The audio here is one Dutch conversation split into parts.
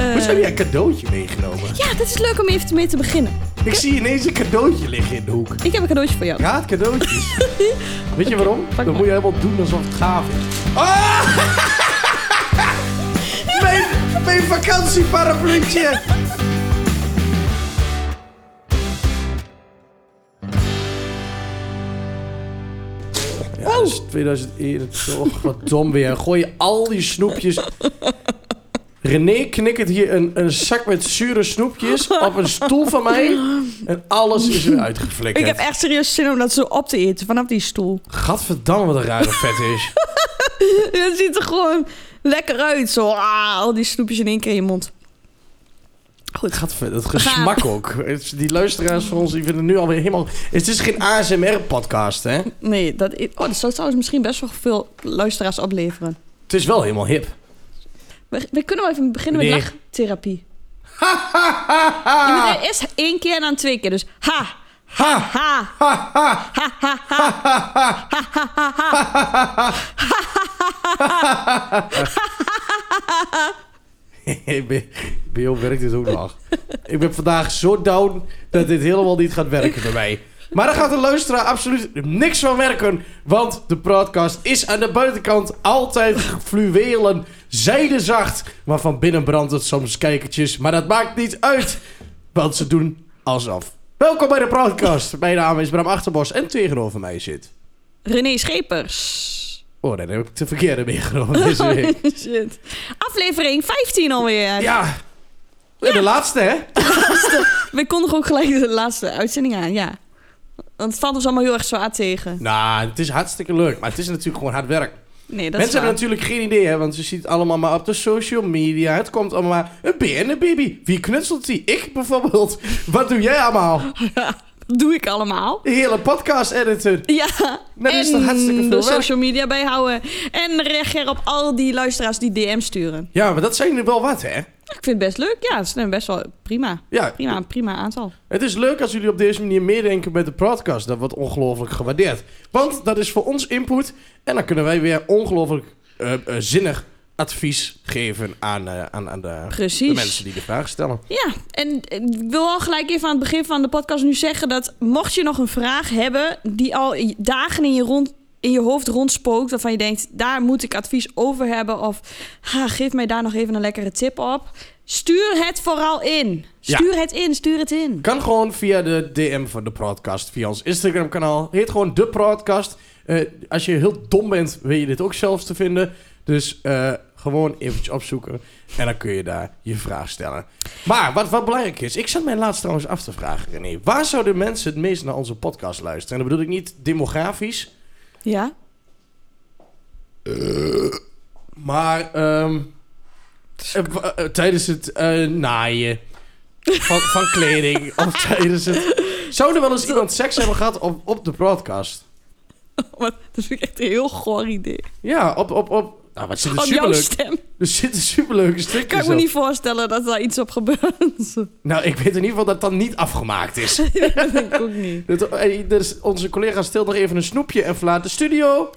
zou jij een cadeautje meegenomen? Ja, dat is leuk om even mee te beginnen. Ik zie ineens een cadeautje liggen in de hoek. Ik heb een cadeautje voor jou. Ik haat cadeautjes. Weet je waarom? pak Dan maar. moet je helemaal doen alsof het gaaf is. Ah! mijn, mijn vakantieparapluutje! Ja, Oh! dus dat is 2021. Och, wat dom weer. Gooi je al die snoepjes. René knikkert hier een, een zak met zure snoepjes op een stoel van mij. En alles is weer uitgeflikkerd. Ik heb echt serieus zin om dat zo op te eten vanaf die stoel. Gadverdamme, wat een rare vet is. Het ziet er gewoon lekker uit. Zo, ah, al die snoepjes in één keer in je mond. Goed. Gadver, dat gesmak ook. Het is- Die luisteraars van ons die vinden nu alweer helemaal... Het is geen ASMR-podcast, hè? Nee, dat, i- oh, dat zou trouwens misschien best wel veel luisteraars opleveren. Het is wel helemaal hip. We, we kunnen wel even beginnen Nee. met lachtherapie. Je moet er eerst één keer en dan twee keer. Dus ha, Ah. Ha! ha, Ha! Ha! ha, ha, ha. Hey, Bij bij jou werkt dit dus ook nog. Ik ben vandaag zo down dat dit helemaal niet gaat werken bij mij. Maar daar gaat de luisteraar absoluut niks van werken. Want de podcast is aan de buitenkant altijd fluwelen, zijdezacht. Maar van binnen brandt het soms kijkertjes. Maar dat maakt niet uit, want ze doen alsof. Welkom bij de podcast. Mijn naam is Bram Achterbos en tegenover mij zit... René Schepers. Oh, Oh, daar heb ik de verkeerde meegenomen deze week. Shit. Aflevering 15 alweer. Ja, de laatste hè? We kondigen ook gelijk de laatste uitzending aan, ja. Want het valt ons allemaal heel erg zwaar tegen. Nou, het is hartstikke leuk, maar het is natuurlijk gewoon hard werk. Nee, Mensen dat is waar. hebben natuurlijk geen idee, hè, want ze zien het allemaal maar op de social media. Het komt allemaal maar een beer en een baby. Wie knutselt die? Ik bijvoorbeeld. Wat doe jij allemaal? Dat doe ik allemaal. De hele podcast editen. Ja, Nou, dat is toch en hartstikke veel de werk? social media bijhouden. En reageer op al die luisteraars die DM sturen. Ja, maar dat zijn er wel wat, hè? Ik vind het best leuk. Ja, het is een best wel prima. Ja, Prima, een prima aantal. het is leuk als jullie op deze manier meedenken met de podcast. Dat wordt ongelooflijk gewaardeerd. Want dat is voor ons input. En dan kunnen wij weer ongelooflijk eh, eh, zinnig advies geven aan, eh, aan, aan de, de Precies. mensen die de vraag stellen. Ja, en ik wil al gelijk even aan het begin van de podcast nu zeggen dat mocht je nog een vraag hebben die al dagen in je, rond, in je hoofd rondspookt, waarvan je denkt, daar moet ik advies over hebben of ha, geef mij daar nog even een lekkere tip op, stuur het vooral in. Ja. Stuur het in, stuur het in. Kan gewoon via de DM van de podcast, via ons Instagram kanaal. Heet gewoon de podcast. Eh, als je heel dom bent, weet je dit ook zelfs te vinden. Dus eh, gewoon eventjes opzoeken. En dan kun je daar je vraag stellen. Maar wat, wat belangrijk is, ik zat mij laatst trouwens af te vragen, René. Waar zouden mensen het meest naar onze podcast luisteren? En dat bedoel ik niet demografisch, Ja, maar ehm, eh, w- eh, tijdens het eh, naaien van, van kleding. of tijdens het. Zou er wel eens iemand seks hebben gehad op, op de podcast? Want dat vind ik echt een heel goor idee. Ja, op, op, op. Nou, wat zit er Op jouw superleuk. stem Er zitten superleuke stukjes kan ik me op. niet voorstellen dat daar iets op gebeurt. Nou, ik weet in ieder geval dat dat niet afgemaakt is. dat denk ik ook niet. Dat- hey, dus onze collega stilt nog even een snoepje en verlaat de studio.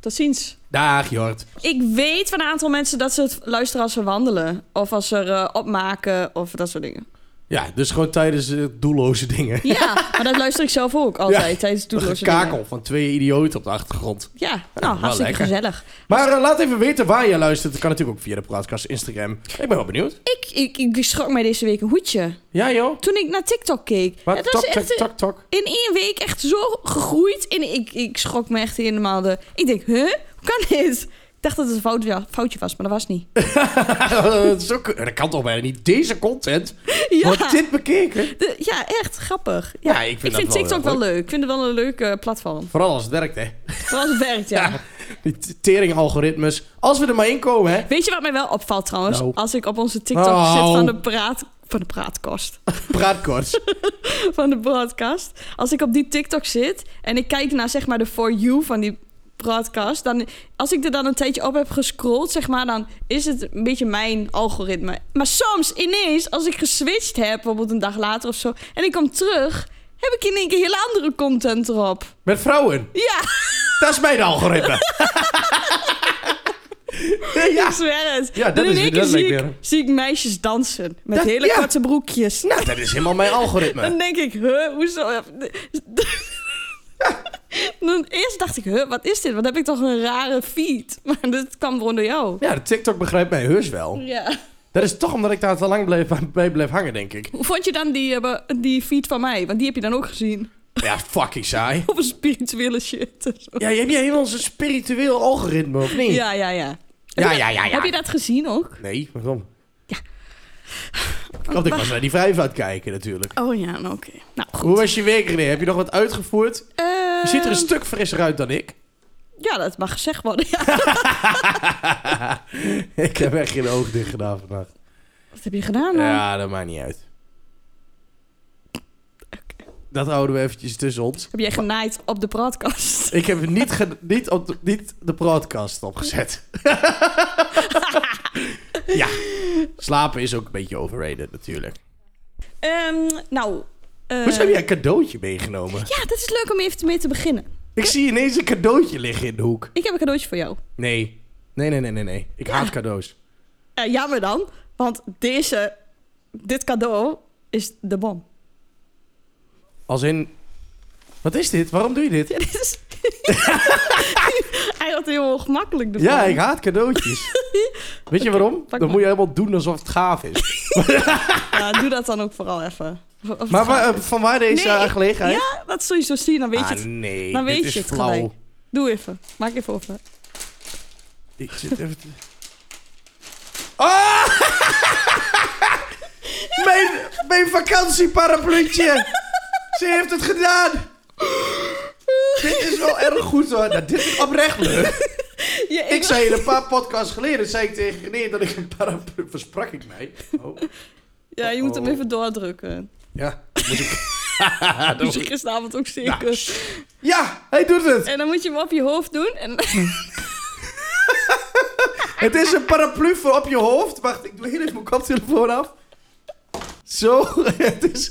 Tot ziens. Dag, Jort. Ik weet van een aantal mensen dat ze het luisteren als ze wandelen. Of als ze er eh, opmaken of dat soort dingen. Ja, dus gewoon tijdens eh, doelloze dingen. Ja, maar dat luister ik zelf ook altijd Ja, tijdens Een doelloze dingen. gekakel van twee idioten op de achtergrond. Ja, wel nou, hartstikke lekker. gezellig. Maar eh, laat even weten waar jij luistert. Dat kan natuurlijk ook via de podcast, Instagram. Ik ben wel benieuwd. Ik, ik, ik schrok mij deze week een hoedje. Ja, joh. Toen ik naar TikTok keek. Wat? Het was Tok, tok, echt eh, tok, tok. in één week echt zo gegroeid. En ik, ik schrok me echt helemaal de... Ik denk, huh? Hoe kan dit? Ik dacht dat het een foutje, foutje was, maar dat was niet. dat, is ook- dat kan toch bijna niet. Deze content Ja, wordt dit bekeken. de- ja echt grappig. Ja. Ja, ik vind, Ik vind dat wel TikTok heel wel leuk. Ik vind het wel een leuk eh, platform. Vooral als het werkt, hè. Vooral als het werkt, ja. Ja, die t- teringalgoritmes. Als we er maar in komen, hè. Weet je wat mij wel opvalt trouwens? Nou. Als ik op onze TikTok Nou. zit van de, praat, van de praatkost. Praat kort. van de broadcast. Als ik op die TikTok zit en ik kijk naar zeg maar de For You van die broadcast. Dan, als ik er dan een tijdje op heb gescrolld, zeg maar, dan is het een beetje mijn algoritme. Maar soms ineens, als ik geswitcht heb, bijvoorbeeld een dag later of zo. En ik kom terug, heb ik in één keer hele andere content erop. Met vrouwen. Ja, Dat is mijn algoritme. ja. Ik zweer het. Ja, dat Dan is- in één dat keer zie, lijkt ik, weer- zie ik meisjes dansen. Met Dat- hele ja. korte broekjes. Nou, dat is helemaal mijn algoritme. Dan denk ik, huh, hoezo? Dan eerst dacht ik, huh, wat is dit? Wat heb ik toch een rare feed? Maar dit kwam gewoon door jou. Ja, de TikTok begrijpt mij heus wel. Ja. Dat is toch omdat ik daar te lang bleef, bij bleef hangen, denk ik. Hoe vond je dan die, eh, be- die feed van mij? Want die heb je dan ook gezien. Ja, fucking saai. Op een spirituele shit. en zo. Ja, je hebt je helemaal zo'n spiritueel algoritme, of niet? Ja, ja, ja. ja, ja. ja, ja. Heb je dat gezien ook? Nee, waarom? Ja. Ik had ik was naar die vijf aan het kijken, natuurlijk. Oh ja, nou oké. Nou goed. Hoe was je week, René? Heb je nog wat uitgevoerd? Je ziet er een Ehm, stuk frisser uit dan ik. Ja, dat mag gezegd worden. Ja. ik heb echt geen oog dicht gedaan vannacht. Wat heb je gedaan dan? Ja, dat maakt niet uit. Dat houden we eventjes tussen ons. Heb jij genaaid op de podcast? Ik heb niet, ge- niet, op de, niet de podcast opgezet. ja, slapen is ook een beetje overrated natuurlijk. Eh. Ehm, nou... eh, Hoe heb jij een cadeautje meegenomen? Ja, dat is leuk om even mee te beginnen. Ik zie ineens een cadeautje liggen in de hoek. Ik heb een cadeautje voor jou. Nee, nee, nee, nee, nee. nee. Ik haat cadeaus. Eh, jammer dan, want deze, dit cadeau is de bom. Als in... Wat is dit? Waarom doe je dit? Dit is... Hij had heel ongemakkelijk ervan. Ja, ik haat cadeautjes. Weet je waarom? pak Dan maar. moet je helemaal doen alsof het gaaf is. Ja, doe dat dan ook vooral even. Of- of het Maar gaat- wa- eh, van waar deze Nee, eh, ik- gelegenheid? Ja, dat zul je zo zien, dan weet je Ah, het. nee, dan dit weet is je het flauw. gelijk. Doe even. Maak even open. Ik zit even te... Ah! mijn, mijn vakantieparapluutje! Ze heeft het gedaan! dit is wel erg goed hoor. Nou, dit is oprecht leuk. Ja, Ik zei in een paar podcasts geleden zei ik tegen René dat ik een paraplu... Versprak ik mij? Oh, ja, je moet hem Oh. even doordrukken. ja. Moet ik... Dat moest je gisteravond ook zeker. Oh. Nou, Ja, hij doet het! En dan moet je hem op je hoofd doen. En... Het is een paraplu voor op je hoofd. Wacht, ik doe heel even mijn koptelefoon af. Zo, het is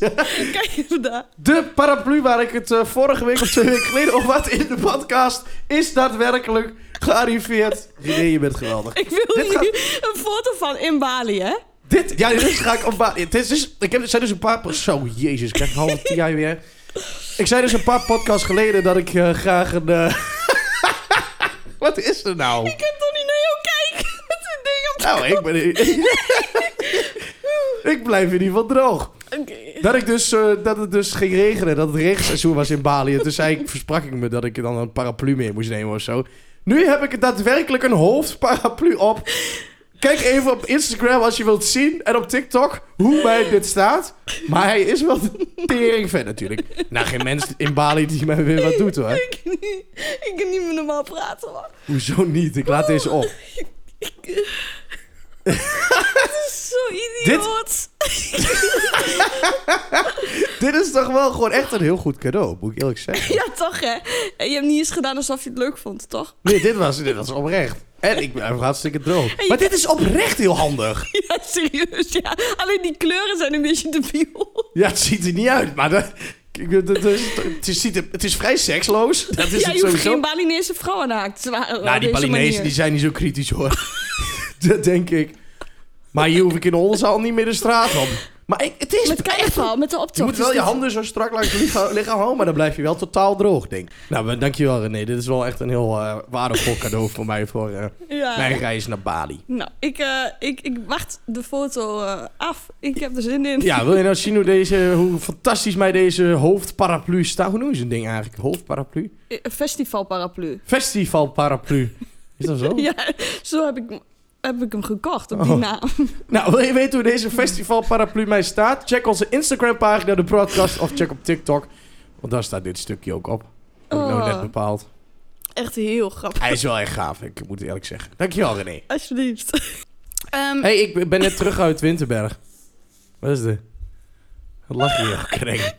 Kijk even daar. de paraplu waar ik het eh, vorige week of twee weken geleden over had in de podcast. Is daadwerkelijk gearriveerd. Nee, je bent geweldig. Ik wil Dit hier een foto van in Bali, hè? Dit, ja, dit ga ik op ba- Het is dus, ik heb, er zijn dus een paar... po- Zo, jezus, ik krijg een halve TI weer. Ik zei dus een paar podcasts geleden dat ik eh, graag een... eh, Wat is er nou? Ik heb toch niet naar jou kijken met een ding op de Nou, ik ben... ik blijf in ieder geval droog. Oké. Dat, ik dus, eh, dat het dus ging regenen, dat het regenseizoen was in Bali. En toen zei ik, versprak ik me dat ik dan een paraplu mee moest nemen of zo. Nu heb ik daadwerkelijk een hoofdparaplu op. Kijk even op Instagram als je wilt zien en op TikTok hoe mij dit staat. Maar hij is wel de tering vet natuurlijk. Nou, geen mens in Bali die mij weer wat doet hoor. Ik, kan niet- ik kan niet meer normaal praten, man. Hoezo niet? Ik laat deze op. Het is zo idioot. Dit is toch wel gewoon echt een heel goed cadeau, moet ik eerlijk zeggen. Ja, toch, hè? En je hebt niet eens gedaan alsof je het leuk vond, toch? Nee, dit was, dit was oprecht. En ik ben hartstikke droog. je- Maar dit is oprecht heel handig. Ja, serieus, ja. Alleen die kleuren zijn een beetje debiel. Ja, het ziet er niet uit, maar dat, kijk, dat, dat is, het, is, ziet er- het is vrij seksloos. Dat is ja, het je hoeft sowieso. geen Balinese vrouwen naakt te waren. nou, op die deze Balinezen manier. die zijn niet zo kritisch hoor. dat denk ik. Maar hier hoef ik in de Oldenzaal niet meer de straat op. Maar ik, het is... Met kijk vooral, met de optocht. je moet wel is je dit- handen zo strak langs je licha- lichaam houden, maar dan blijf je wel totaal droog, denk ik. Nou, maar dankjewel René. Dit is wel echt een heel eh, waardevol cadeau voor mij voor eh, Ja. mijn reis naar Bali. Nou, ik, eh, ik, ik wacht de foto eh, af. Ik heb er zin in. Ja, wil je nou zien hoe, deze, hoe fantastisch mij deze hoofdparaplu staat? Hoe noem je zo'n ding eigenlijk? Hoofdparaplu? Eh, Festivalparaplu. Festivalparaplu. Is dat zo? Ja, zo heb ik, heb ik hem gekocht op die Oh. naam. Nou, wil je weten hoe deze festivalparaplu mij staat? Check onze Instagram-pagina, de podcast, of check op TikTok. Want daar staat dit stukje ook op. Heb ik nou Oh. net bepaald. Echt heel grappig. Hij is wel echt gaaf, ik moet eerlijk zeggen. Dankjewel, René. Alsjeblieft. Ehm, hey, ik ben net terug uit Winterberg. Wat is dit? Wat lach je hier ook, René?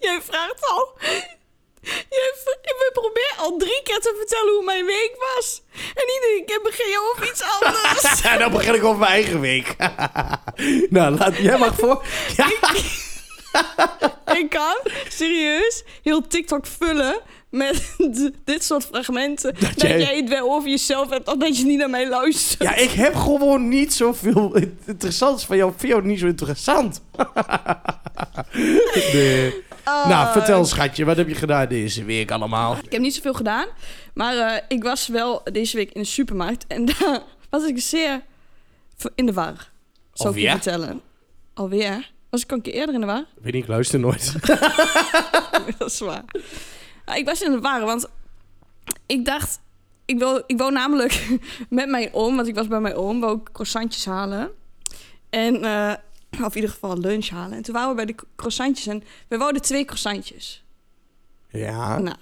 Jij vraagt al. Jij v- ik probeer al drie keer te vertellen hoe mijn week was. En iedere keer begin je over iets anders. En dan begin ik over mijn Nou, eigen week. nou, laat, jij mag voor. Ja. ik kan serieus heel TikTok vullen met d- dit soort fragmenten. Dat, jij- jij... het wel over jezelf hebt, of dat je niet naar mij luistert. Ja, ik heb gewoon niet zoveel in- interessants van jou. Ik vind jou niet zo interessant. Nee. Ah, Nou, vertel schatje, wat heb je gedaan deze week allemaal? Ik heb niet zoveel gedaan, maar eh, ik was wel deze week in de supermarkt en daar was ik zeer v- in de war. Zo kun je Alweer? vertellen. Alweer? Was ik al een keer eerder in de war? Weet niet, ik luister nooit. dat is waar. Nou, ik was in de war, want ik dacht... Ik, wil, ik woon namelijk met mijn oom, want ik was bij mijn oom, wou ik croissantjes halen. En, eh, of in ieder geval lunch halen. En toen waren we bij de cro- croissantjes en we wouden twee croissantjes. Ja. Nou,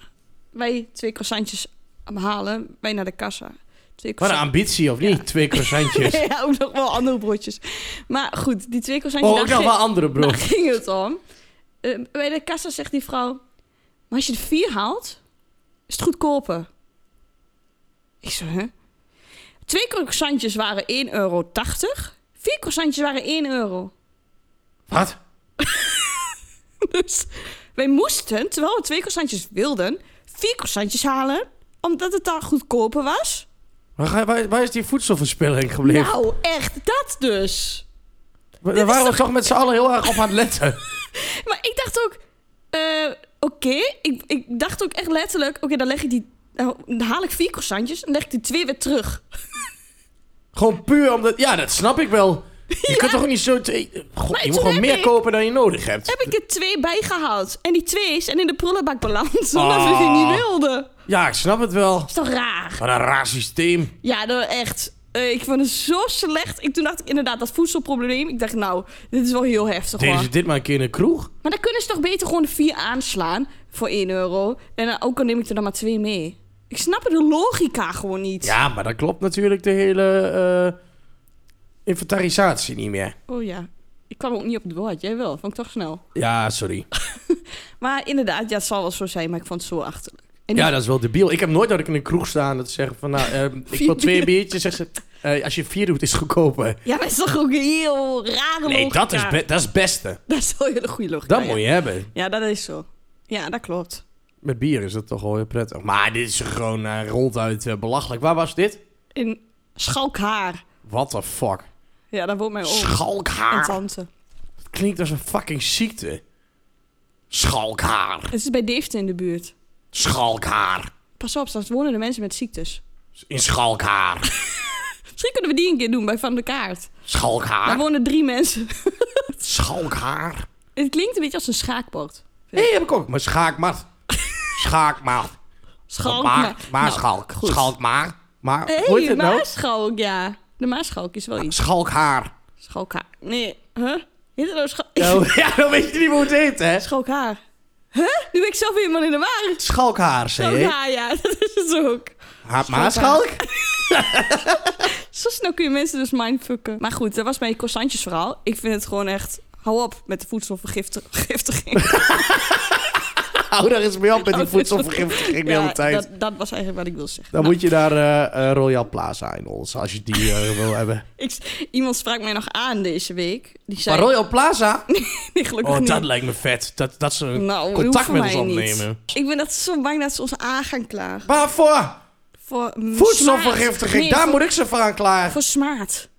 wij twee croissantjes halen, wij naar de kassa. Twee Wat een croissantjes. ambitie, of niet? Twee croissantjes. ja, ook nog wel andere broodjes. Maar goed, die twee croissantjes... Oh, ook daar nog wel ging- andere bro. Daar ging het om. Eh, bij de kassa zegt die vrouw... Maar als je er vier haalt, is het goedkoper. Ik zo, hè? Twee croissantjes waren 1,80 euro. Vier croissantjes waren 1 euro. Wat? Dus wij moesten, terwijl we twee croissantjes wilden... vier croissantjes halen, omdat het daar goedkoper was. Waar, ga- waar, waar is die voedselverspilling gebleven? Nou, echt, dat dus. We- dit Daar is waren we toch- toch met z'n allen heel erg op aan het letten. Maar ik dacht ook, eh, oké, ik, ik dacht ook echt letterlijk, oké, dan leg ik die, nou, dan haal ik vier croissantjes en leg ik die twee weer terug. Gewoon puur omdat... Ja, dat snap ik wel. Je kunt toch ook niet zo... te- God, je toen moet gewoon heb meer ik- kopen dan je nodig hebt. Heb ik er twee bijgehaald en die twee zijn in de prullenbak beland, omdat Ah. we die niet wilden. Ja, ik snap het wel. Is toch raar? Wat een raar systeem. Ja, nou, echt. Eh, ik vond het zo slecht. Ik, toen dacht ik inderdaad dat voedselprobleem. Ik dacht, nou, dit is wel heel heftig Deden hoor. ze dit maar een keer in een kroeg? Maar dan kunnen ze toch beter gewoon de vier aanslaan voor 1 euro. En dan, ook al neem ik er dan maar twee mee. Ik snap de logica gewoon niet. Ja, maar dan klopt natuurlijk de hele eh, inventarisatie niet meer. Oh ja. Ik kwam ook niet op het woord. Jij wel. Vond ik toch snel. Ja, sorry. Maar inderdaad, ja, het zal wel zo zijn, maar ik vond het zo achterlijk. En die- Ja, dat is wel debiel. Ik heb nooit dat ik in een kroeg sta en dat ze zeggen van... Nou, ehm, ik Vier wil twee bier. biertjes. Zeggen ze, eh, als je vier doet, is het goedkoper. ja, maar het is toch ook een heel rare Nee, logica. dat is, be- dat is het beste. Dat is wel een hele goede logica. Dat ja. moet je hebben. Ja, dat is zo. Ja, dat klopt. Met bier is dat toch wel weer prettig. Maar dit is gewoon eh, ronduit eh, belachelijk. Waar was dit? In Schalkhaar. What the fuck? Ja, daar woont mijn Oh. oom en Schalkhaar. tante. Dat klinkt als een fucking ziekte. Schalkhaar. Het is bij Deventer in de buurt. Schalkhaar. Pas op, straks wonen de mensen met ziektes. In Schalkhaar. Misschien kunnen we die een keer doen bij Van de Kaart. Daar Schalkhaar. wonen drie mensen. Schalkhaar. Het klinkt een beetje als een schaakbord. Nee, heb ik ook. Maar schaakmat. Schaakmat. Schalk. maar, maar nou, schalk. goed. Schalk maar. Maar, Hé, hoe heet het nou? Ah. Maarschalk, ja. De Maarschalk is wel iets. Schalkhaar. Schalkhaar. Nee, huh? Heet het nou scha- Nou, ja, dan weet je niet hoe het heet, hè? Schalkhaar. Huh? Nu ben ik zelf helemaal in de war. Schalkhaar, zei je. Schalkhaar, ja, dat is het ook. Ha- Maar schalk? Zo snel kun je mensen dus mindfucken. Maar goed, dat was mijn croissantjesverhaal. Ik vind het gewoon echt... Hou op met de voedselvergiftiging. Hou daar eens mee op met die Oh, voedselvergiftiging de hele tijd. Dat, dat was eigenlijk wat ik wil zeggen. Dan Nou, moet je naar eh, eh, Royal Plaza in ons, als je die eh, wil hebben. ik- iemand sprak mij nog aan deze week. Die zei... Maar Royal Plaza? Nee, gelukkig Oh, niet. dat lijkt me vet. Dat, dat ze een Nou, dat hoeft contact voor met mij ons opnemen. Niet. Ik ben dat zo bang dat ze ons aan gaan klagen. Waarvoor? Voor mm, Voedselvergiftiging, smaad. Nee, daar voor, moet ik ze voor aanklagen. Voor smaad.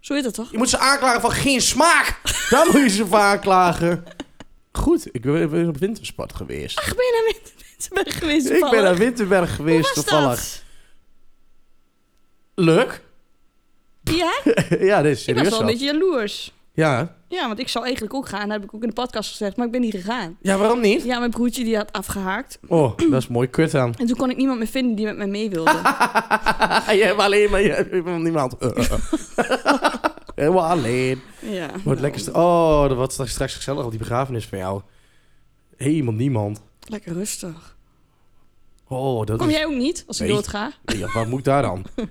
Zo heet dat toch? Je moet ze aanklagen van geen smaak. daar moet je ze voor aanklagen. Goed, ik ben ben op wintersport geweest. Ach, ben je naar Win- Winterberg geweest? Ik ben naar toevallig? Winterberg Hoe geweest was toevallig. dat? Leuk? Ja, ja, dit is ik was serieus wel een wel. beetje jaloers. Ja. Ja, want ik zou eigenlijk ook gaan. Dat heb ik ook in de podcast gezegd, maar ik ben niet gegaan. ja, waarom niet? Ja, mijn broertje die had afgehaakt. Oh, dat is mooi kut aan. En toen kon ik niemand meer vinden die met mij mee wilde. Ah, je hebt alleen maar je hebt niemand. Eh, eh, eh. Helemaal alleen. ja. Wordt lekker st- oh, dat wordt straks, straks gezellig op die begrafenis van jou. Helemaal niemand. Lekker rustig. Oh, dat Kom is... jij ook niet als ik Nee. doodga? Ja, wat moet ik daar dan?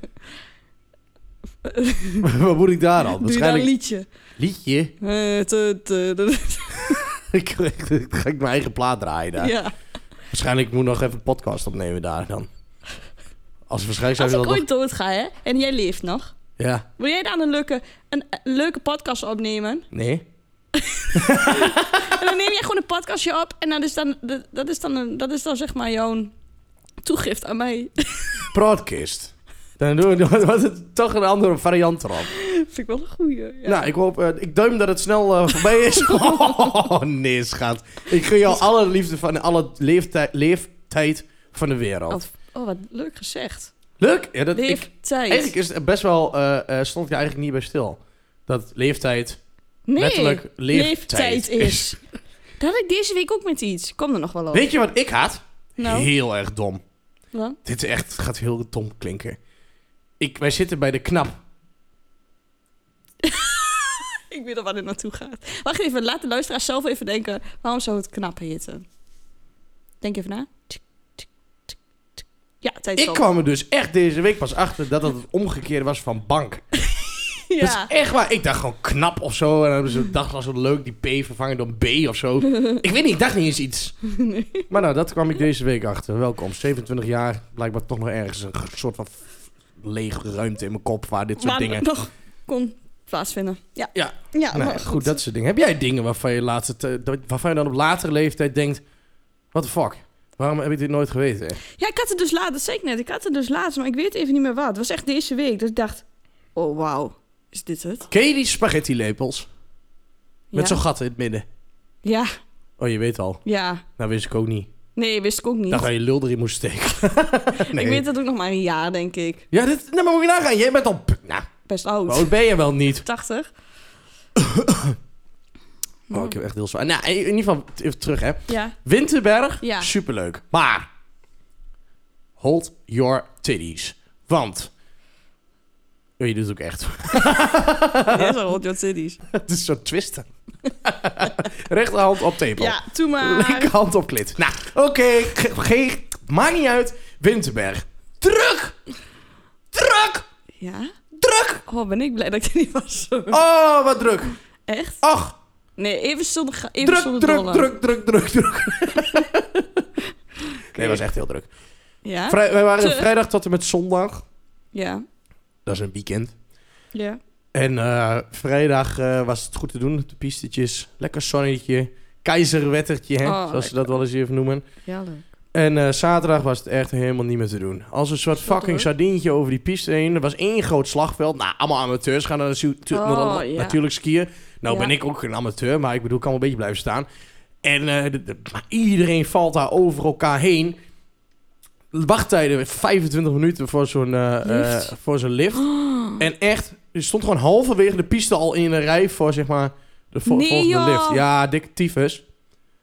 wat moet ik daar dan? Doe je daar een Waarschijnlijk liedje? liedje. Eh, te- te- te- ik ga ik mijn eigen plaat draaien daar. Ja. Waarschijnlijk moet ik nog even een podcast opnemen daar dan. Als waarschijnlijk zou Als je ik dat nog... ooit doodga, hè? En jij leeft nog. Ja, Wil jij dan een leuke, een, een leuke podcast opnemen? nee. En dan neem jij gewoon een podcastje op en dat is dan, dat- dat is dan, een, dat is dan zeg maar jouw toegift aan mij. Broadcast. Dan doen we was het toch een andere variant erop. Vind ik wel een goeie. Ja. Nou, ik hoop, eh, ik duim dat het snel eh, voorbij is. oh, nee, schat. Ik gun jou alle liefde van alle leeftijd, leeftijd van de wereld. oh, oh, wat leuk gezegd. Leuk? Ja, dat, ik, Leeftijd. eigenlijk is het best wel, eh, eh, stond ik er eigenlijk niet bij stil. Dat leeftijd, nee, letterlijk leeftijd, leeftijd is. Dat had ik deze week ook met iets. Kom er nog wel op. Weet je wat ik had? Oh. Nou, Heel erg dom. wat? Dit is echt, gaat heel dom klinken. Ik, wij zitten bij de knap. ik weet al waar dit naartoe gaat. Wacht even, laat de luisteraar zelf even denken. Waarom zou het knap heten? Denk even na. Tsk, tsk, tsk, tsk. Ja, tijd is Ik op. kwam er dus echt deze week pas achter dat dat het omgekeerde was van bank. Dat Ja. is echt waar. Ik dacht gewoon knap of zo. En dan hebben ze dacht was zo leuk die P vervangen door B of zo. ik weet niet, ik dacht niet eens iets. Maar nou, dat kwam ik deze week achter. Welkom, 27 jaar. Blijkbaar toch nog ergens een soort van lege ruimte in mijn kop waar dit soort Waar dingen... nog kon plaatsvinden. Ja. Ja. Ja, Nou, maar goed. dat soort dingen. Heb jij dingen waarvan je, laatste te- dat- waarvan je dan op latere leeftijd denkt... What the fuck? Waarom heb ik dit nooit geweten? Ja, ik had het dus laatst, dat zei ik net, ik had het dus laatst, maar ik weet even niet meer wat. Het was echt deze week, dus ik dacht, oh wauw, is dit het? Ken je die spaghetti lepels? Met ja. zo'n gat in het midden. Ja, Oh, je weet al. ja. Nou, wist ik ook niet. Nee, wist ik ook niet. Dacht dat je lul erin moest steken. nee. Ik weet dat ook nog maar een jaar, denk ik. Ja, dit, nou, maar moet je nagaan. Jij bent al... Nou, Best oud. hoe oud ben je wel niet? 80. Oh, ik heb echt heel zwaar. Nou, in ieder geval, t- even terug hè. Ja. Winterberg, Ja. superleuk. Maar, hold your titties. Want... Oh, je doet het ook echt. Dat is al Hot Yacht Cities. Het is zo twisten. Rechterhand op tepel. Ja, toen maar. Linkerhand op klit. Nou, oké. ge- ge- Maakt niet uit. Winterberg. Druk! Druk! Ja? Druk! Oh, ben ik blij dat ik er niet was. Oh, wat druk. Echt? Ach, Nee, even zonder, ga- even druk, zonder druk, dolle. druk, druk, druk, druk. nee, was echt heel druk. Ja? Vrij, wij waren Te- vrijdag tot en met zondag. Ja. Dat is een weekend. Ja. En eh, vrijdag eh, was het goed te doen. De pistetjes, lekker zonnetje. Keizerwettertje, hè, Oh, zoals ze lekker. dat wel eens even noemen. Ja, leuk. En eh, zaterdag was het echt helemaal niet meer te doen. Als een soort Wat fucking hoor. sardientje over die piste heen. Er was één groot slagveld. Nou, allemaal amateurs gaan er natu- tu- Oh, na- ja. natuurlijk skiën. Nou Ja. ben ik ook geen amateur, maar ik bedoel, ik kan wel een beetje blijven staan. En eh, de- de- maar iedereen valt daar over elkaar heen. Wachttijden 25 minuten voor zo'n eh, eh, Lift. voor zo'n lift. En echt, je stond gewoon halverwege de piste al in een rij voor zeg maar de vo- Nee, volgende joh. lift. Ja, dikke tyfus.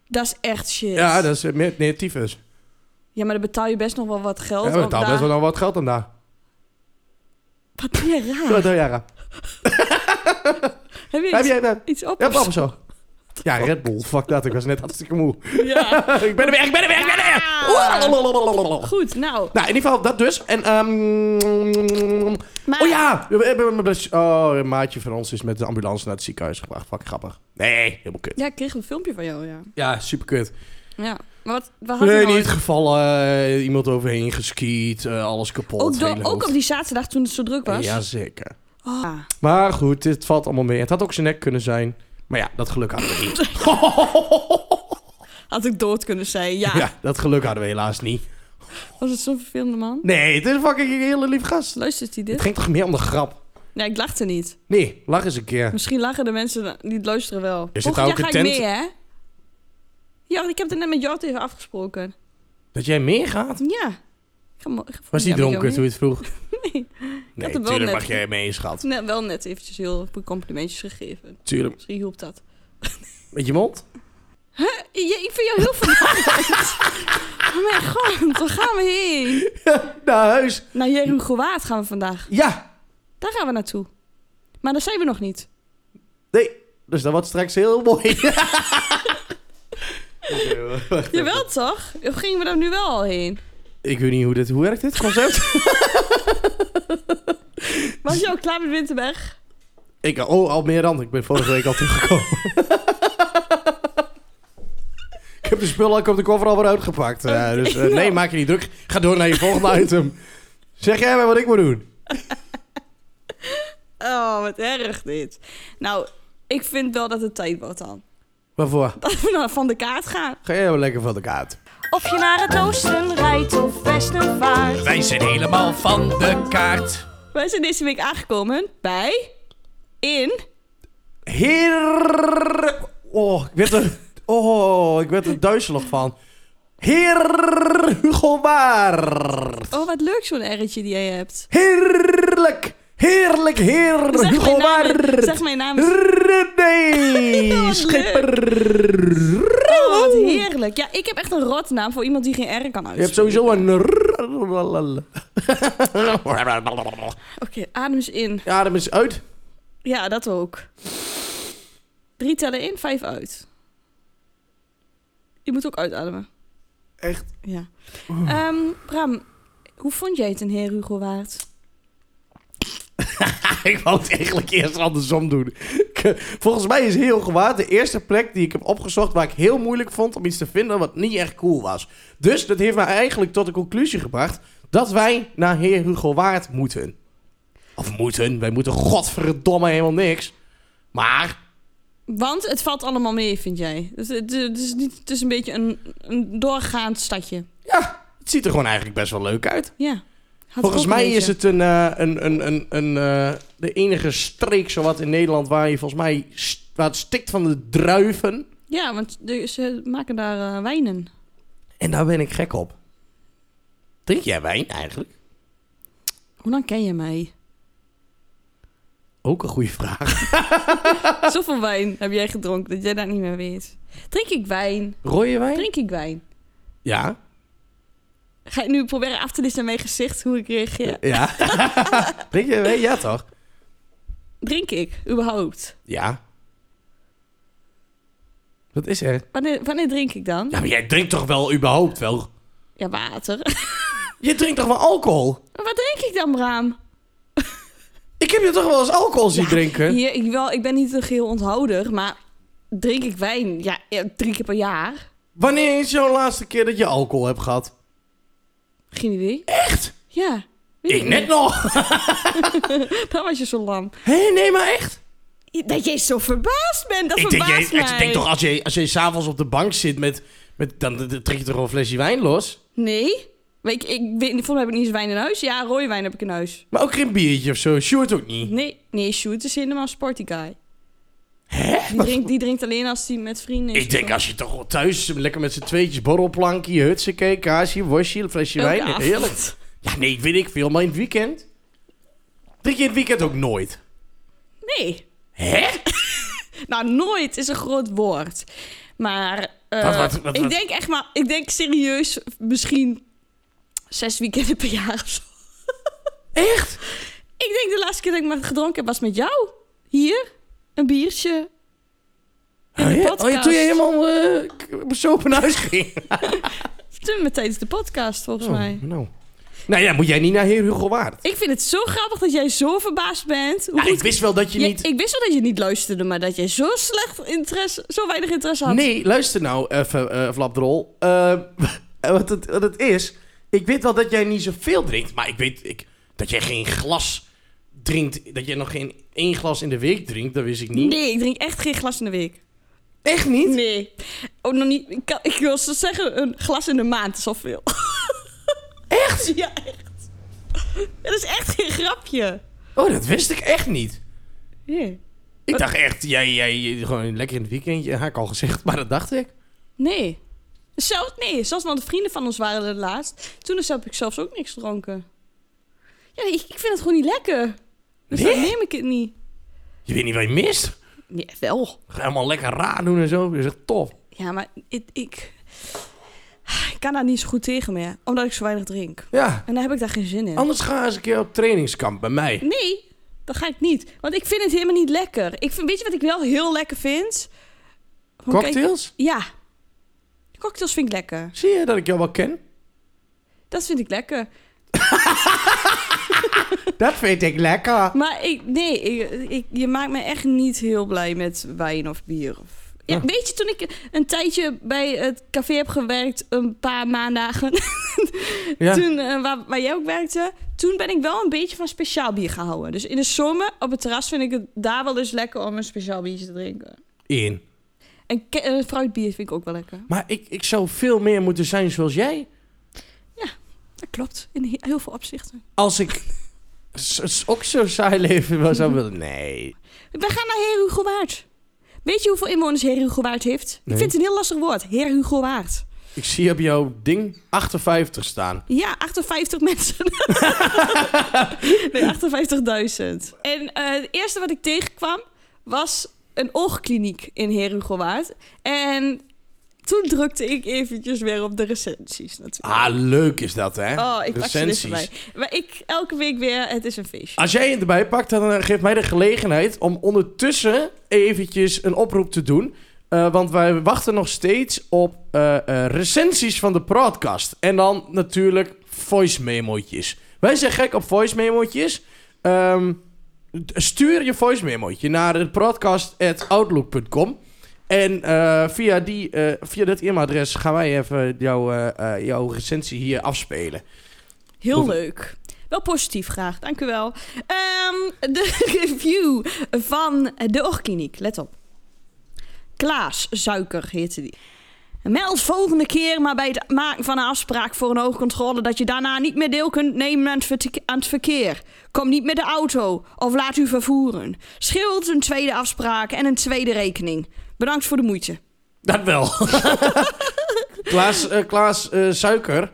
Dat is echt shit. Ja, dat is eh, meer nee, tyfus. ja, maar dan betaal je best nog wel wat geld. Ja, we want betalen daar- best wel nog wat geld aan daar. Wat ben je Door raar. de jaren. Heb je Heb iets, jij dat? iets op? Ja, of zo? papa zo. Ja, Red Bull. Fuck dat. Ik was net hartstikke moe. Ja. ik ben er weer, ik ben er weer, ik ben er weer. Oeh, lalalala. Goed, nou. Nou, in ieder geval dat dus. En, ehm Maar, Oh ja! we hebben- Oh, een maatje van ons is met de ambulance naar het ziekenhuis gebracht. Fuck, grappig. Nee, helemaal kut. Ja, ik kreeg een filmpje van jou, ja. Ja, super kut. Ja. Maar wat, we hadden Nee, nou- niet gevallen. eh, Iemand overheen geskiet. eh, alles kapot. Ook, door- hele ook op hoofd. die zaterdag toen het zo druk was. Jazeker. Oh. Ja. Maar goed, dit valt allemaal mee. Het had ook zijn nek kunnen zijn. Maar ja, dat geluk hadden we niet. Had ik dood kunnen zijn, ja. Ja, dat geluk hadden we helaas niet. Was het zo'n vervelende man? Nee, het is een fucking een hele lief gast. Luistert hij Het dit? ging toch meer om de grap? Nee, ik lachte niet. Nee, lach eens een keer. Misschien lachen de mensen die het luisteren wel. Er zit Volgend jaar ook een ga tent- ik mee, hè? Ja, ik heb het net met Jort even afgesproken. Dat jij meegaat? Ja. Ik ga mo- ik ga volgend Was hij jaar met jou dronken mee. toen je het vroeg? Nee. Nee, had hem wel tuurlijk net- mag jij mee, schat. Nee, wel net eventjes heel veel complimentjes gegeven. Tuurlijk. Misschien hielp dat. Met je mond? Ja, ik vind jou heel vervelend. Oh mijn god, waar gaan we heen? Naar huis. Naar Jerugowaard gaan we vandaag. Ja. Daar gaan we naartoe. Maar daar zijn we nog niet. Nee. Dus dat wordt straks heel mooi. Oké, wacht even. Jawel toch? Of gingen we daar nu wel al heen? Ik weet niet hoe dit... Hoe werkt dit concept? Was je al klaar met Winterberg? ik... Oh, al meer dan. Ik ben vorige week al teruggekomen. ik heb de spullen ook op de koffer al weer uitgepakt. eh, dus eh, nee, maak je niet druk. Ga door naar je volgende item. Zeg jij mij wat ik moet doen. Oh, wat erg dit. Nou, ik vind wel dat het tijd wordt dan. Waarvoor? dat we nou van de kaart gaan. Ga jij wel lekker van de kaart? Of je naar het oosten rijdt of westen vaart. Wij zijn helemaal van de kaart. Wij zijn deze week aangekomen bij... In... Heer... Oh, ik werd er... Oh, ik werd er duizelig van. Heer Hugo Waard. Oh, wat leuk zo'n R'tje die jij hebt. Heerlijk. Heerlijk, heer Zeg Hugo mijn naam, Waard. zeg mijn naam. eens. René Wat Schipper. Oh, wat heerlijk. Ja, ik heb echt een rotnaam voor iemand die geen R kan uitspreken. Je hebt sowieso een... Oké, adem eens in. Adem eens uit. Ja, dat ook. Drie tellen in, vijf uit. Je moet ook uitademen. Echt? Oh. Ja. Ehm, Bram, hoe vond jij het een heer Hugo Waard? Ik wou het eigenlijk eerst andersom doen. Ik, Volgens mij is heel gewaard de eerste plek die ik heb opgezocht waar ik heel moeilijk vond om iets te vinden wat niet echt cool was. Dus dat heeft mij eigenlijk tot de conclusie gebracht dat wij naar Heer Hugo Waard moeten. Of moeten, wij moeten godverdomme helemaal niks. Maar Want het valt allemaal mee, vind jij. Dus Het, het, is, niet, het is een beetje een, een doorgaand stadje. ja, het ziet er gewoon eigenlijk best wel leuk uit. Ja. Had ik Volgens ook een mij beetje. is het een, eh, een, een, een, een, eh, de enige streek zowat in Nederland waar je volgens mij st- waar het stikt van de druiven. Ja, want de- ze maken daar eh, wijnen. En daar ben ik gek op. Drink jij wijn eigenlijk? Hoe lang ken je mij? Ook een goede vraag. Zoveel wijn heb jij gedronken dat jij dat niet meer weet. Drink ik wijn? Rode wijn? Drink ik wijn? Ja. Ga je nu proberen af te lezen aan mijn gezicht hoe ik reageer? Ja. Drink jij wijn? Ja toch? Drink ik überhaupt? Ja. Wat is er? Wanneer, wanneer drink ik dan? Ja, Nou, maar jij drinkt toch wel überhaupt wel? Ja, water. Je drinkt toch wel alcohol? Maar wat drink ik dan, Braam? Ik heb je toch wel eens alcohol zien drinken? Hier, ik, wel, ik ben niet een geheel onthouder, maar drink ik wijn? Ja, ja, drie keer per jaar. Wanneer is jouw laatste keer dat je alcohol hebt gehad? Geen idee. Echt? Ja. weet Ik net nog. Dan was je zo lam. Hé, nee, maar echt? Dat jij zo verbaasd bent, dat Ik denk, verbaast jij, mij. ik denk toch, als je, als je s'avonds op de bank zit met... met dan, dan trek je toch wel een flesje wijn los? Nee. Maar ik, ik weet, volgens mij heb ik niet eens wijn in huis. Ja, rode wijn heb ik in huis. Maar ook geen biertje of zo. Sjoerd ook niet. Nee, nee, Sjoerd is helemaal een sporty guy. Hè? Die drinkt, die drinkt alleen als hij met vrienden is. Ik denk als je toch wel thuis lekker met z'n tweetjes borrelplankje, hutsekee, kaasje, worstje, een flesje Elke wijn. avond. Heerlijk. Ja, nee, weet ik veel, maar in het weekend? Drink je in het weekend ook nooit? Nee. Hè? Nou, nooit is een groot woord. Maar eh, Wat, wat, wat, ik wat? denk echt maar... Ik denk serieus misschien zes weekenden per jaar of zo. Echt? Ik denk de laatste keer dat ik maar gedronken heb was met jou. Hier, een biertje. Oh ja, podcast. oh ja, toen je helemaal eh, k- bezopen naar huis ging. Toen met tijdens de podcast, volgens Oh, mij. nou. nou ja, moet jij niet naar Heer Hugo Waard. Ik vind het zo grappig dat jij zo verbaasd bent. Hoe Ja, goed ik wist wel dat je Ja, niet... Ik wist wel dat je niet luisterde, maar dat je zo slecht interesse, zo weinig interesse had. Nee, luister nou even, eh Flapdrol. Eh, wat, het, wat het is, ik weet wel dat jij niet zoveel drinkt, maar ik weet ik, dat jij geen glas drinkt, dat jij nog geen één glas in de week drinkt, dat wist ik niet. Nee, ik drink echt geen glas in de week. Echt niet? Nee. Ook nog niet. Ik, kan- ik wil zo zeggen, een glas in de maand is al veel. Echt? Ja, echt. Dat is echt geen grapje. Oh, dat wist ik echt niet. Nee. Ik dacht echt, jij, jij jij- gewoon lekker in het weekendje, had ik al gezegd, maar dat dacht ik. Nee. Zelf, nee, zelfs nog de vrienden van ons waren er laatst. Toen heb ik zelfs ook niks gedronken. Ja, ik, ik vind het gewoon niet lekker. Dus Nee? dan neem ik het niet. Je weet niet wat je mist. Nee, wel. Ga helemaal lekker raar doen en zo, dat is echt tof. Ja, maar ik, ik, ik kan daar niet zo goed tegen meer. Omdat ik zo weinig drink. Ja, En daar heb ik daar geen zin in. anders ga eens een keer op trainingskamp bij mij. Nee, dat ga ik niet. Want ik vind het helemaal niet lekker. Ik vind, weet je wat ik wel heel lekker vind? Gewoon kijk- Cocktails? ja. Cocktails vind ik lekker. Zie je dat ik jou wel ken? Dat vind ik lekker. Dat vind ik lekker. Maar ik, nee, ik, ik- je maakt me echt niet heel blij met wijn of bier. Of, ja, Ja. Weet je, toen ik een tijdje bij het café heb gewerkt, een paar maandagen. Ja. Toen, eh, waar, waar jij ook werkte, toen ben ik wel een beetje van speciaal bier gehouden. Dus in de zomer op het terras vind ik het daar wel eens lekker om een speciaal biertje te drinken. In. En ke- eh, fruitbier vind ik ook wel lekker. Maar ik, ik zou veel meer moeten zijn zoals jij. Dat klopt, in he- heel veel opzichten. Als ik s- s- ook zo saai leven wel zou willen. Nee. We gaan naar Heer Hugo Waard. Weet je hoeveel inwoners Heer Hugo Waard heeft? Nee. Ik vind het een heel lastig woord, Heer Hugo Waard. Ik zie op jouw ding 58 staan. Ja, 58 mensen. nee, 58.000. En eh, het eerste wat ik tegenkwam was een oogkliniek in Heer Hugo Waard. En toen drukte ik eventjes weer op de recensies natuurlijk. Ah, leuk is dat, hè? Oh, ik pak ze er even bij. Maar ik, elke week weer, het is een feestje. Als jij het erbij pakt, dan eh, geeft mij de gelegenheid om ondertussen eventjes een oproep te doen. Eh, want wij wachten nog steeds op eh, eh, recensies van de podcast. En dan natuurlijk voice memo'tjes. Wij zijn gek op voice memo'tjes. Ehm, d- stuur je voice memo'tje naar podcast.outlook.com. En eh, via, die, eh, via dat e-mailadres gaan wij even jouw, eh, eh, jouw recensie hier afspelen. Heel Moet- leuk. Wel positief graag, dank u wel. Ehm, de review van de oogkliniek, let op. Klaas Suiker heette die. Meld volgende keer maar bij het maken van een afspraak voor een oogcontrole... dat je daarna niet meer deel kunt nemen aan het, verte- aan het verkeer. Kom niet met de auto of laat u vervoeren. Scheelt een tweede afspraak en een tweede rekening. Bedankt voor de moeite. Dat wel. Klaas, eh, Klaas eh, Suiker.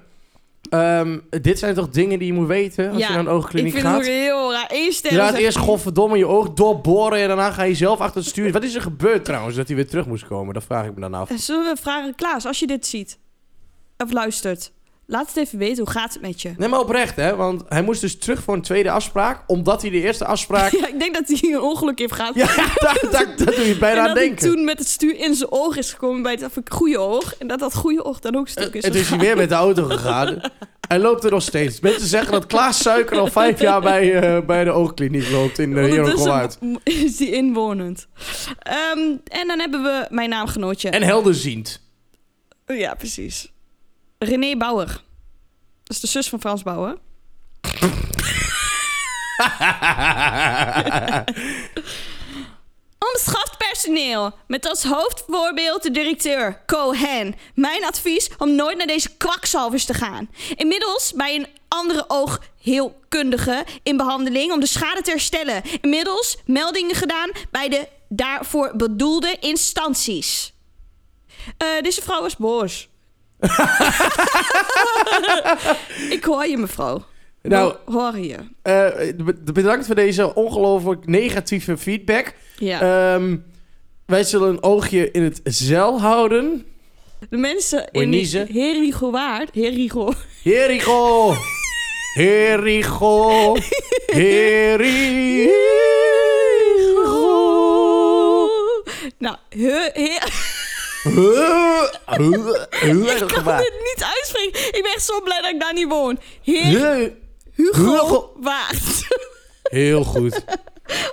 Ehm, dit zijn toch dingen die je moet weten als Ja, je naar een Ik oogkliniek vind gaat? het ook heel raar. Eén Je ster is laat echt- eerst godverdomme je oog doorboren en daarna ga je zelf achter het stuur. Wat is er gebeurd trouwens dat hij weer terug moest komen? Dat vraag ik me dan af. Zullen we vragen, Klaas, als je dit ziet of luistert, laat het even weten. Hoe gaat het met je? Nee, maar oprecht hè, want hij moest dus terug voor een tweede afspraak, omdat hij de eerste afspraak... Ja, ik denk dat hij een ongeluk heeft gehad. ja, daar, daar, daar doe je en bijna dat aan hij denken. toen met het stuur in zijn oog is gekomen bij het goede oog. En dat dat goede oog dan ook stuk is. En toen Eh, is hij weer met de auto gegaan. Hij loopt er nog steeds. Mensen zeggen dat Klaas Suiker al vijf jaar bij, eh, bij de oogkliniek loopt in de Heerlijk uit. Ondertussen is hij inwonend. Ehm, en dan hebben we mijn naamgenootje. En helderziend. Ja, precies. René Bauer. Dat is de zus van Frans Bauer. Omschaft personeel. Met als hoofdvoorbeeld de directeur Cohen. Mijn advies om nooit naar deze kwakzalvers te gaan. Inmiddels bij een andere oogheelkundige in behandeling om de schade te herstellen. Inmiddels meldingen gedaan bij de daarvoor bedoelde instanties. Eh, deze vrouw was boos. Ik hoor je, mevrouw. Nou, Ho- hoor je. eh, be- bedankt voor deze ongelooflijk negatieve feedback. Ja. Ehm, wij zullen een oogje in het zeil houden. de mensen je in niezen? Herigo Waard... Herigo... Herigo! Herigo! Herigo! Nou, he, he, Huh? Huh? Huh? ik kan dit niet uitspreken. Ik ben echt zo blij dat ik daar niet woon. Heer Huh? Hugo, Hugo. Waard. Heel goed.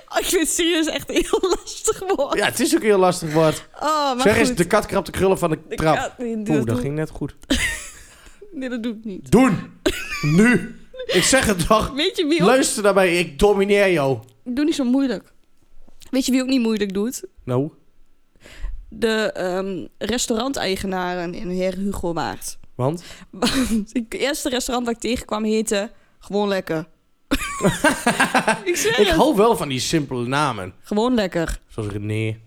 Oh, ik vind het serieus echt een heel lastig woord. Ja, het is ook een heel lastig woord. Oh, maar zeg goed. eens, de kat krapt de krullen van de Ik- trap. ja, nee, Oeh, dat dat doe, ging net goed. nee, dat doe ik niet. Doen! Nu! Ik zeg het toch. Weet je wie ook... Luister naar mij, ik domineer jou. Doe niet zo moeilijk. Weet je wie ook niet moeilijk doet? Nou, De ehm restauranteigenaren in Heer Hugo Waard. want? Want Het eerste restaurant dat ik tegenkwam heette... Gewoon lekker. ik zeg Ik het. hou wel van die simpele namen. Gewoon lekker. Zoals René. Nee,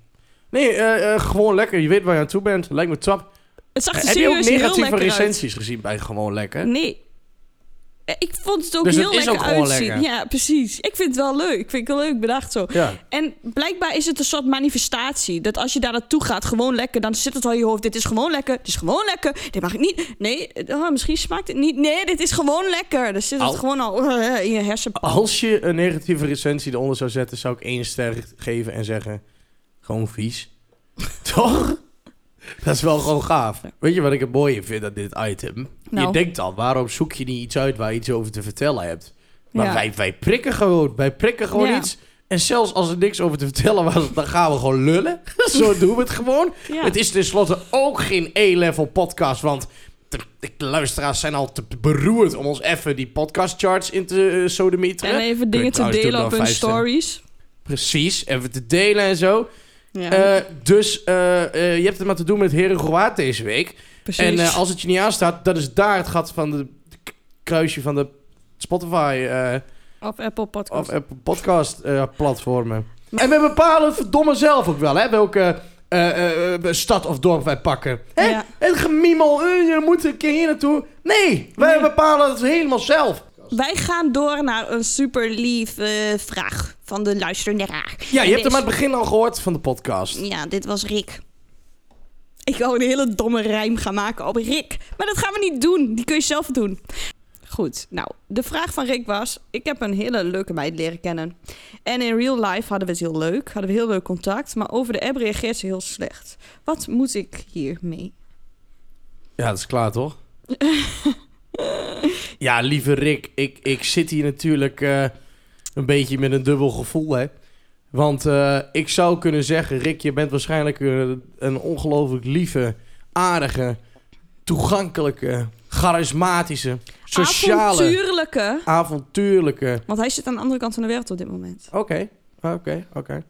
eh, eh, gewoon lekker. Je weet waar je aan toe bent. Lijkt me top. Het zag er Eh, Heb je ook serieus heel negatieve lekker uit. recensies gezien bij Gewoon Lekker? Nee. Eh, Ik vond het ook Dus het heel is lekker ook gewoon uitzien. lekker. Ja, precies. Ik vind het wel leuk. Ik vind het wel leuk bedacht zo. Ja. En blijkbaar is het een soort manifestatie. Dat als je daar naartoe gaat, gewoon lekker, dan zit het al in je hoofd. Dit is gewoon lekker. Dit is gewoon lekker. Dit mag ik niet. Nee, eh, oh, misschien smaakt het niet. Nee, dit is gewoon lekker. Dan zit het Au. gewoon al eh, in je hersenpan. Als je een negatieve recensie eronder zou zetten, zou ik één ster geven en zeggen... Gewoon vies. Toch? Dat is wel gewoon gaaf. Weet je wat ik het mooie vind aan dit item? Nou. Je denkt al, waarom zoek je niet iets uit waar je iets over te vertellen hebt? Maar Ja. wij, wij prikken gewoon. Wij prikken gewoon Ja. iets. En zelfs als er niks over te vertellen was, dan gaan we gewoon lullen. Zo doen we het gewoon. Ja. Het is tenslotte ook geen E-level podcast, want de, de luisteraars zijn al te beroerd om ons even die podcastcharts in te eh, Nou, sodemieteren. En even Kun je dingen te trouwens delen doen op dan hun vijf sterren. stories. Precies, even te delen en zo. Ja, Eh, dus eh, eh, je hebt het maar te doen met Herengoaard deze week. precies. En eh, als het je niet aanstaat, dat is daar het gat van de k- kruisje van de Spotify eh, Of Apple Podcast. of Apple podcast eh, platformen. En we bepalen het verdomme zelf ook wel, hè? Welke eh, eh, stad of dorp wij pakken. Hè? Ja. Het gemiemel, eh, je moet een keer hier naartoe. Nee, wij Nee. bepalen het helemaal zelf. Wij gaan door naar een super lief eh, vraag van de luisteraar. Ja, je hebt hem Deze- aan het begin al gehoord van de podcast. Ja, dit was Rick. Ik wou een hele domme rijm gaan maken op Rick. Maar dat gaan we niet doen. Die kun je zelf doen. Goed, nou, de vraag van Rick was... Ik heb een hele leuke meid leren kennen. En in real life hadden we het heel leuk. Hadden we heel leuk contact. Maar over de app reageert ze heel slecht. Wat moet ik hiermee? Ja, dat is klaar, toch? ja, lieve Rick, ik, ik zit hier natuurlijk eh, een beetje met een dubbel gevoel, hè. Want eh, ik zou kunnen zeggen, Rick, je bent waarschijnlijk een, een ongelooflijk lieve, aardige, toegankelijke, charismatische, sociale, Avontuurlijke. avontuurlijke... Want hij zit aan de andere kant van de wereld op dit moment. Oké, oké, oké.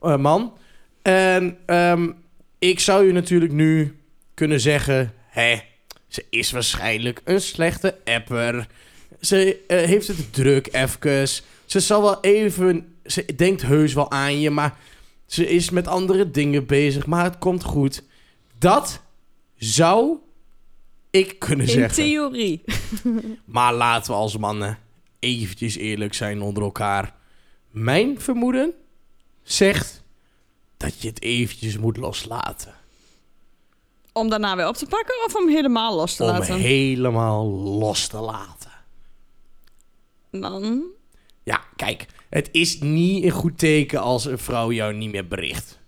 Eh, man. En ehm, ik zou je natuurlijk nu kunnen zeggen... Hé, ze is waarschijnlijk een slechte apper. Ze eh, heeft het druk even. Ze zal wel even... Ze denkt heus wel aan je, maar... Ze is met andere dingen bezig, maar het komt goed. Dat zou ik kunnen In zeggen. theorie. Maar laten we als mannen eventjes eerlijk zijn onder elkaar. Mijn vermoeden zegt dat je het eventjes moet loslaten. Om daarna weer op te pakken of om helemaal los te om laten? helemaal los te laten. Dan... Ja, kijk, het is niet een goed teken als een vrouw jou niet meer bericht.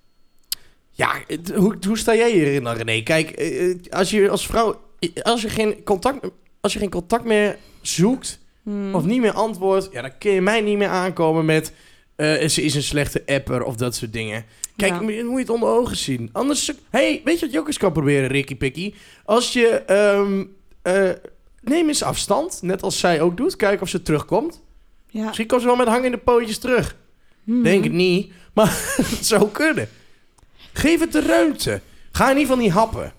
Ja, het- hoe, hoe sta jij hierin dan, René? Kijk, eh, eh, als je als vrouw, eh, als je geen contact, als je geen contact meer zoekt, hmm. of niet meer antwoordt, ja, dan kun je mij niet meer aankomen met eh, ze is een slechte apper of dat soort dingen. Kijk, Ja. moet je moet je het onder ogen zien. Anders, hey, weet je wat je ook eens kan proberen, Ricky Picky? Als je, ehm, eh, neem eens afstand, net als zij ook doet. Kijk of ze terugkomt. Ja. Mhm. Misschien komt ze wel met hangende pootjes terug. Denk het niet, maar het zou kunnen. Geef het de ruimte. Ga in ieder geval niet happen.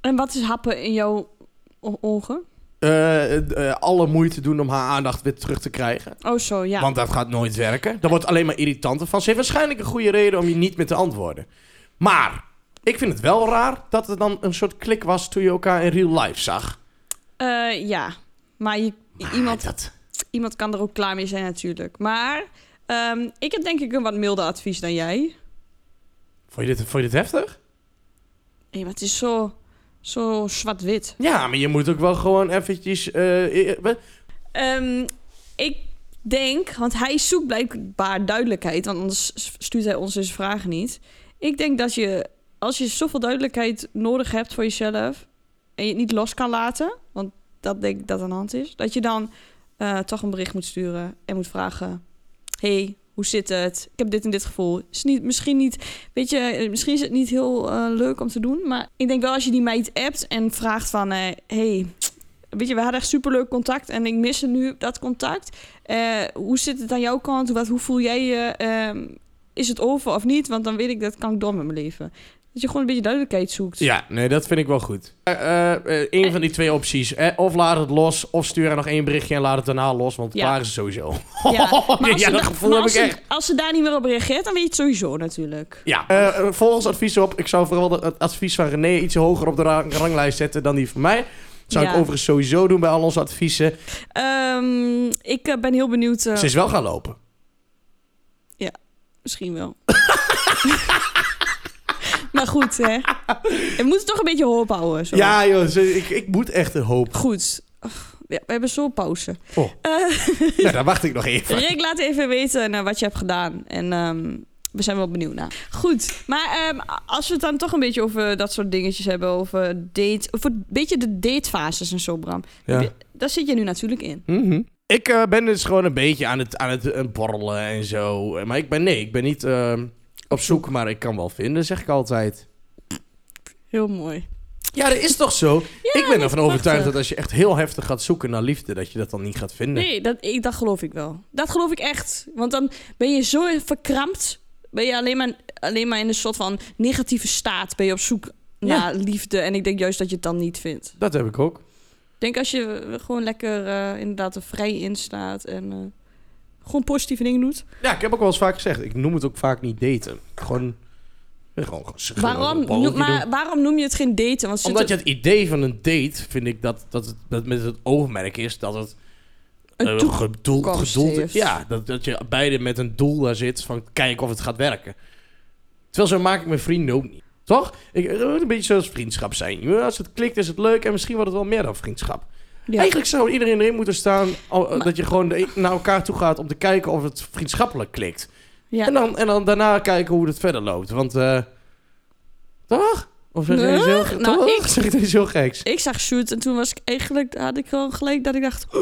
En wat is happen in jouw o- ogen? Eh, eh, alle moeite doen om haar aandacht weer terug te krijgen. Oh, zo, ja. Want dat gaat nooit werken. Daar wordt alleen maar irritanter van. Ze heeft waarschijnlijk een goede reden om je niet meer te antwoorden. Maar ik vind het wel raar dat er dan een soort klik was toen je elkaar in real life zag. Eh, ja. Maar je, iemand, Maar Ah, dat... iemand kan er ook klaar mee zijn natuurlijk. Maar ehm, ik heb denk ik een wat milder advies dan jij. Vond je, dit, vond je dit heftig? Hé, maar het is zo, zo zwart-wit. Ja, maar je moet ook wel gewoon eventjes... eh, eh, we- Ehm, ik denk, want hij zoekt blijkbaar duidelijkheid, want anders stuurt hij ons deze vragen niet. Ik denk dat je, als je zoveel duidelijkheid nodig hebt voor jezelf en je het niet los kan laten, want dat denk ik dat aan de hand is, dat je dan eh, toch een bericht moet sturen en moet vragen: hey, hoe zit het? Ik heb dit en dit gevoel. Is niet, misschien niet, weet je, eh, misschien is het niet heel eh, leuk om te doen, maar ik denk wel als je die meid appt en vraagt van: eh, hey, Weet je, we hadden echt superleuk contact en ik mis nu dat contact. Eh, hoe zit het aan jouw kant? Wat, hoe voel jij je? Ehm, is het over of niet? Want dan weet ik, dat kan ik door met mijn leven. Dat je gewoon een beetje duidelijkheid zoekt. Ja, nee, dat vind ik wel goed. Eh, een van die twee opties. Eh, of laat het los, of stuur haar nog één berichtje en laat het daarna los. Want Ja. klaar is het sowieso. Ja, maar als ja ze dat da- gevoel maar heb ik als ze- echt. Als ze daar niet meer op reageert, dan weet je het sowieso natuurlijk. Ja. eh, volgens advies op. Ik zou vooral de- het advies van René iets hoger op de ra- ranglijst zetten dan die van mij. Dat zou Ja. ik overigens sowieso doen bij al onze adviezen. Ehm, ik eh, ben heel benieuwd. eh, Ze is wel gaan lopen. Misschien wel. maar goed, hè. We moeten toch een beetje hoop houden. Zo. Ja, joh. ze- ik, ik moet echt een hoop. Goed. Ach, ja, we hebben zo pauze. Oh. Ja, daar wacht ik nog even. Rick, laat even weten eh, wat je hebt gedaan. En ehm, we zijn wel benieuwd naar. Goed, maar ehm, als we het dan toch een beetje over dat soort dingetjes hebben, over date, over een beetje de datefases en zo, Bram. Ja. Daar zit je nu natuurlijk in. Mhm. Ik eh, ben dus gewoon een beetje aan het, aan het eh, borrelen en zo. Eh, Maar ik ben, nee, ik ben niet ehm, op zoek, maar ik kan wel vinden, zeg ik altijd. Heel mooi. Ja, dat is toch zo? ik ben dat ervan is overtuigd prachtig. dat als je echt heel heftig gaat zoeken naar liefde, dat je dat dan niet gaat vinden. Nee, dat, ik, dat geloof ik wel. Dat geloof ik echt. Want dan ben je zo verkrampt. Ben je alleen maar alleen maar in een soort van negatieve staat ben je op zoek naar liefde. En ik denk juist dat je het dan niet vindt. Dat heb ik ook. Ik denk als je eh, gewoon lekker eh, inderdaad er vrij in staat en eh, gewoon positieve dingen doet. Ja, ik heb ook wel eens vaak gezegd. Ik noem het ook vaak niet daten. Gewoon... Gewoon, gewoon Waarom, een poging noem, maar doen. waarom noem je het geen daten? Want zit Omdat er- je het idee van een date, vind ik, dat, dat, het, dat met het oogmerk is dat het een eh, toe- gedoel, toekomst gedoeld heeft. Ja, dat, dat je beide met een doel daar zit van kijken of het gaat werken. Terwijl zo maak ik mijn vrienden ook niet. Toch? Ik, eh, een beetje zoals vriendschap zijn. Ja, Als het klikt is het leuk en misschien wordt het wel meer dan vriendschap. Ja. Eigenlijk zou iedereen erin moeten staan al- eh, Maar- dat je gewoon de- naar elkaar toe gaat om te kijken of het vriendschappelijk klikt. Ja. En, dan, en dan daarna kijken hoe het verder loopt. Want, eh toch? Of zeg je Nee, iets heel, ge- nou, toch? ik- Zeg je iets heel geks? Ik zag shoot en toen was ik eigenlijk, had ik gewoon gelijk dat ik dacht,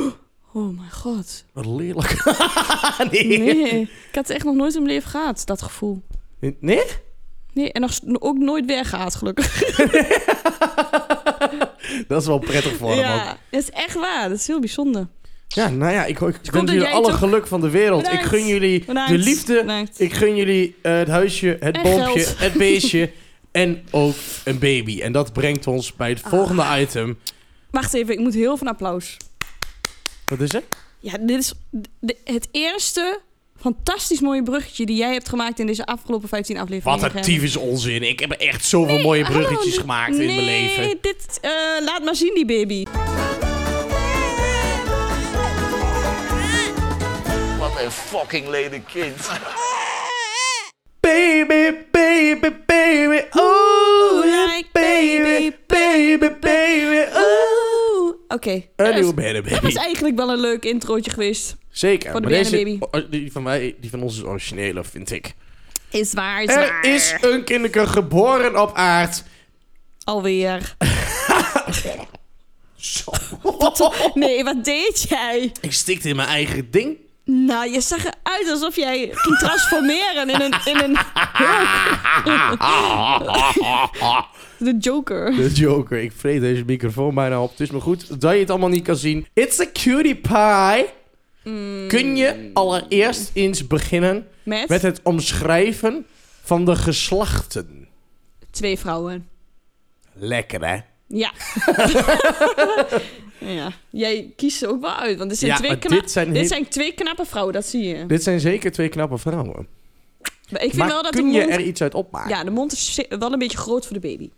oh mijn god. Wat lelijk. nee. Nee, ik had het echt nog nooit in mijn leven gehad, dat gevoel. Nee? Nee, en nog, s- ook nooit weggehaald gelukkig. Dat is wel prettig voor hem ook. ja, dat is echt waar. Dat is heel bijzonder. Ja, nou ja, ik, ik wens dat jullie jij alle toch- geluk van de wereld. Bedankt. Ik gun jullie Bedankt. de liefde. Bedankt. Ik gun jullie eh, het huisje, het En boompje, geld. het beestje en ook een baby. En dat brengt ons bij het Ah. volgende item. Wacht even, ik moet heel veel applaus. Wat is het? Ja, dit is d- d- het eerste fantastisch mooie bruggetje die jij hebt gemaakt in deze afgelopen 15 afleveringen. Wat een tyfus onzin. Ik heb echt zoveel mooie bruggetjes Hallo, gemaakt in mijn leven. Oh, Nee, dit... eh, laat maar zien, die baby. Wat een fucking lelijk kind. Baby, baby, baby, oh yeah, like baby, baby, baby, oh. Oeh. Oké. Eh, Een Dat is- nieuwe Banner Dat was baby. eigenlijk wel een leuk introotje geweest. Zeker. Voor de maar Banner deze, oh, die van mij, die van ons is originele, vind ik. Is waar, is Er waar. is een kinderke geboren op aard. Alweer. Zo. Oh. Nee, wat deed jij? Ik stikte in mijn eigen ding. Nou, je zag eruit alsof jij ging transformeren in een... In een de Joker. De Joker, ik vreet deze microfoon bijna op. Het is maar goed dat je het allemaal niet kan zien. It's a cutie pie. Mm. Kun je allereerst eens beginnen Met, met het omschrijven van de geslachten? twee vrouwen. Lekker, hè? Ja. ja. Jij kiest ze ook wel uit, want er zijn Ja, twee maar kna- dit zijn heel- dit zijn twee knappe vrouwen, dat zie je. Dit zijn zeker twee knappe vrouwen. Maar ik vind Maar wel dat de kun mond... je er iets uit opmaken? Ja, de mond is zi- wel een beetje groot voor de baby.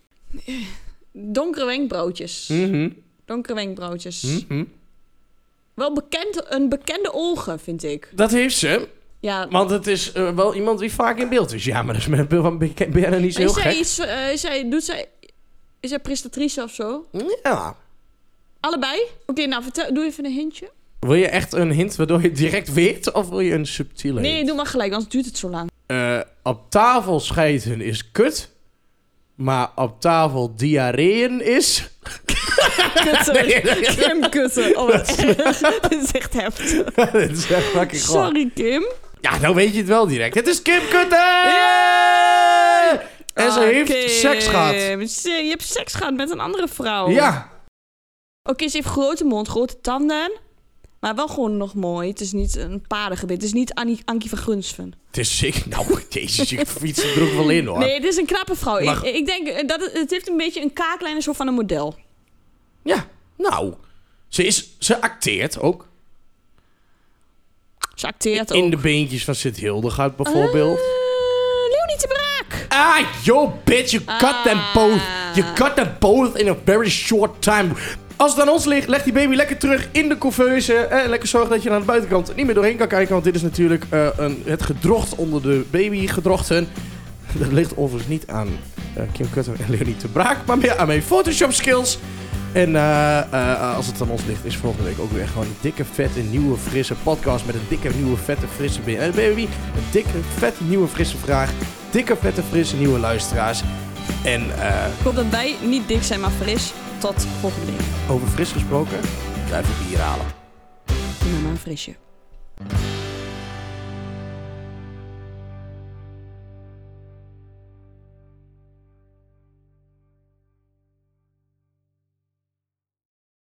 Donkere wenkbrauwtjes. Mhm, Donkere wenkbrauwtjes. mhm. Wel bekend, een bekende ogen, vind ik. Dat heeft ze, Ja. want het is eh, wel iemand die vaak in beeld is. Ja, maar dat is met Bill van Be- Berner niet zo heel is zij gek. iets... eh, is zij, doet zij... Is zij prestatrice of zo? Ja. Allebei? Oké, nou, vertel, doe even een hintje. Wil je echt een hint waardoor je het direct weet? Of wil je een subtiele Nee, hint? doe maar gelijk, anders duurt het zo lang. Eh, op tafel scheiden is kut. Maar op tafel diarreeën is... Kutten. Nee, nee, nee. Kim kutten. Oh, wat erg. Dit is echt heftig. Dat is echt fucking gewoon. Sorry, Kim. Ja, nou weet je het wel direct. Het is Kim Kutten! En ze Ah, heeft Kim. seks gehad. Ze- Je hebt seks gehad met een andere vrouw. Ja. Oké, ze heeft grote mond, grote tanden. Maar wel gewoon nog mooi. Het is niet een paardengebied. Het is niet Annie, Ankie van Gunsven. Het is ziek. Nou, jezus, ik fiets er ook wel in hoor. Nee, het is een knappe vrouw. Ik, Maar- ik denk eh, dat het, het heeft een beetje een kaaklijn en zo van een model. Ja, nou. Ze, is, ze acteert ook. Ze acteert ook. In de beentjes van Sint Hildegard bijvoorbeeld. Eh, Leonie te braak. Ah, yo, bitch, you cut them Ah. both. You cut them both in a very short time. Als het aan ons ligt, leg die baby lekker terug in de couveuse. En lekker zorg dat je aan de buitenkant niet meer doorheen kan kijken. Want dit is natuurlijk eh, een, het gedrocht onder de babygedrochten. Dat ligt overigens niet aan eh, Kim Cutter en Leonie te Braak. Maar meer aan mijn Photoshop skills. En eh, eh, als het aan ons ligt, is volgende week ook weer gewoon een dikke, vette, nieuwe, frisse podcast. Met een dikke, nieuwe, vette, frisse BNN baby. Een dikke, vette, nieuwe, frisse vraag. Dikke, vette, frisse, nieuwe luisteraars. En eh, Ik hoop dat wij niet dik zijn, maar fris. Tot volgende week. over fris gesproken, blijf ik bier halen. Doe maar maar een frisje.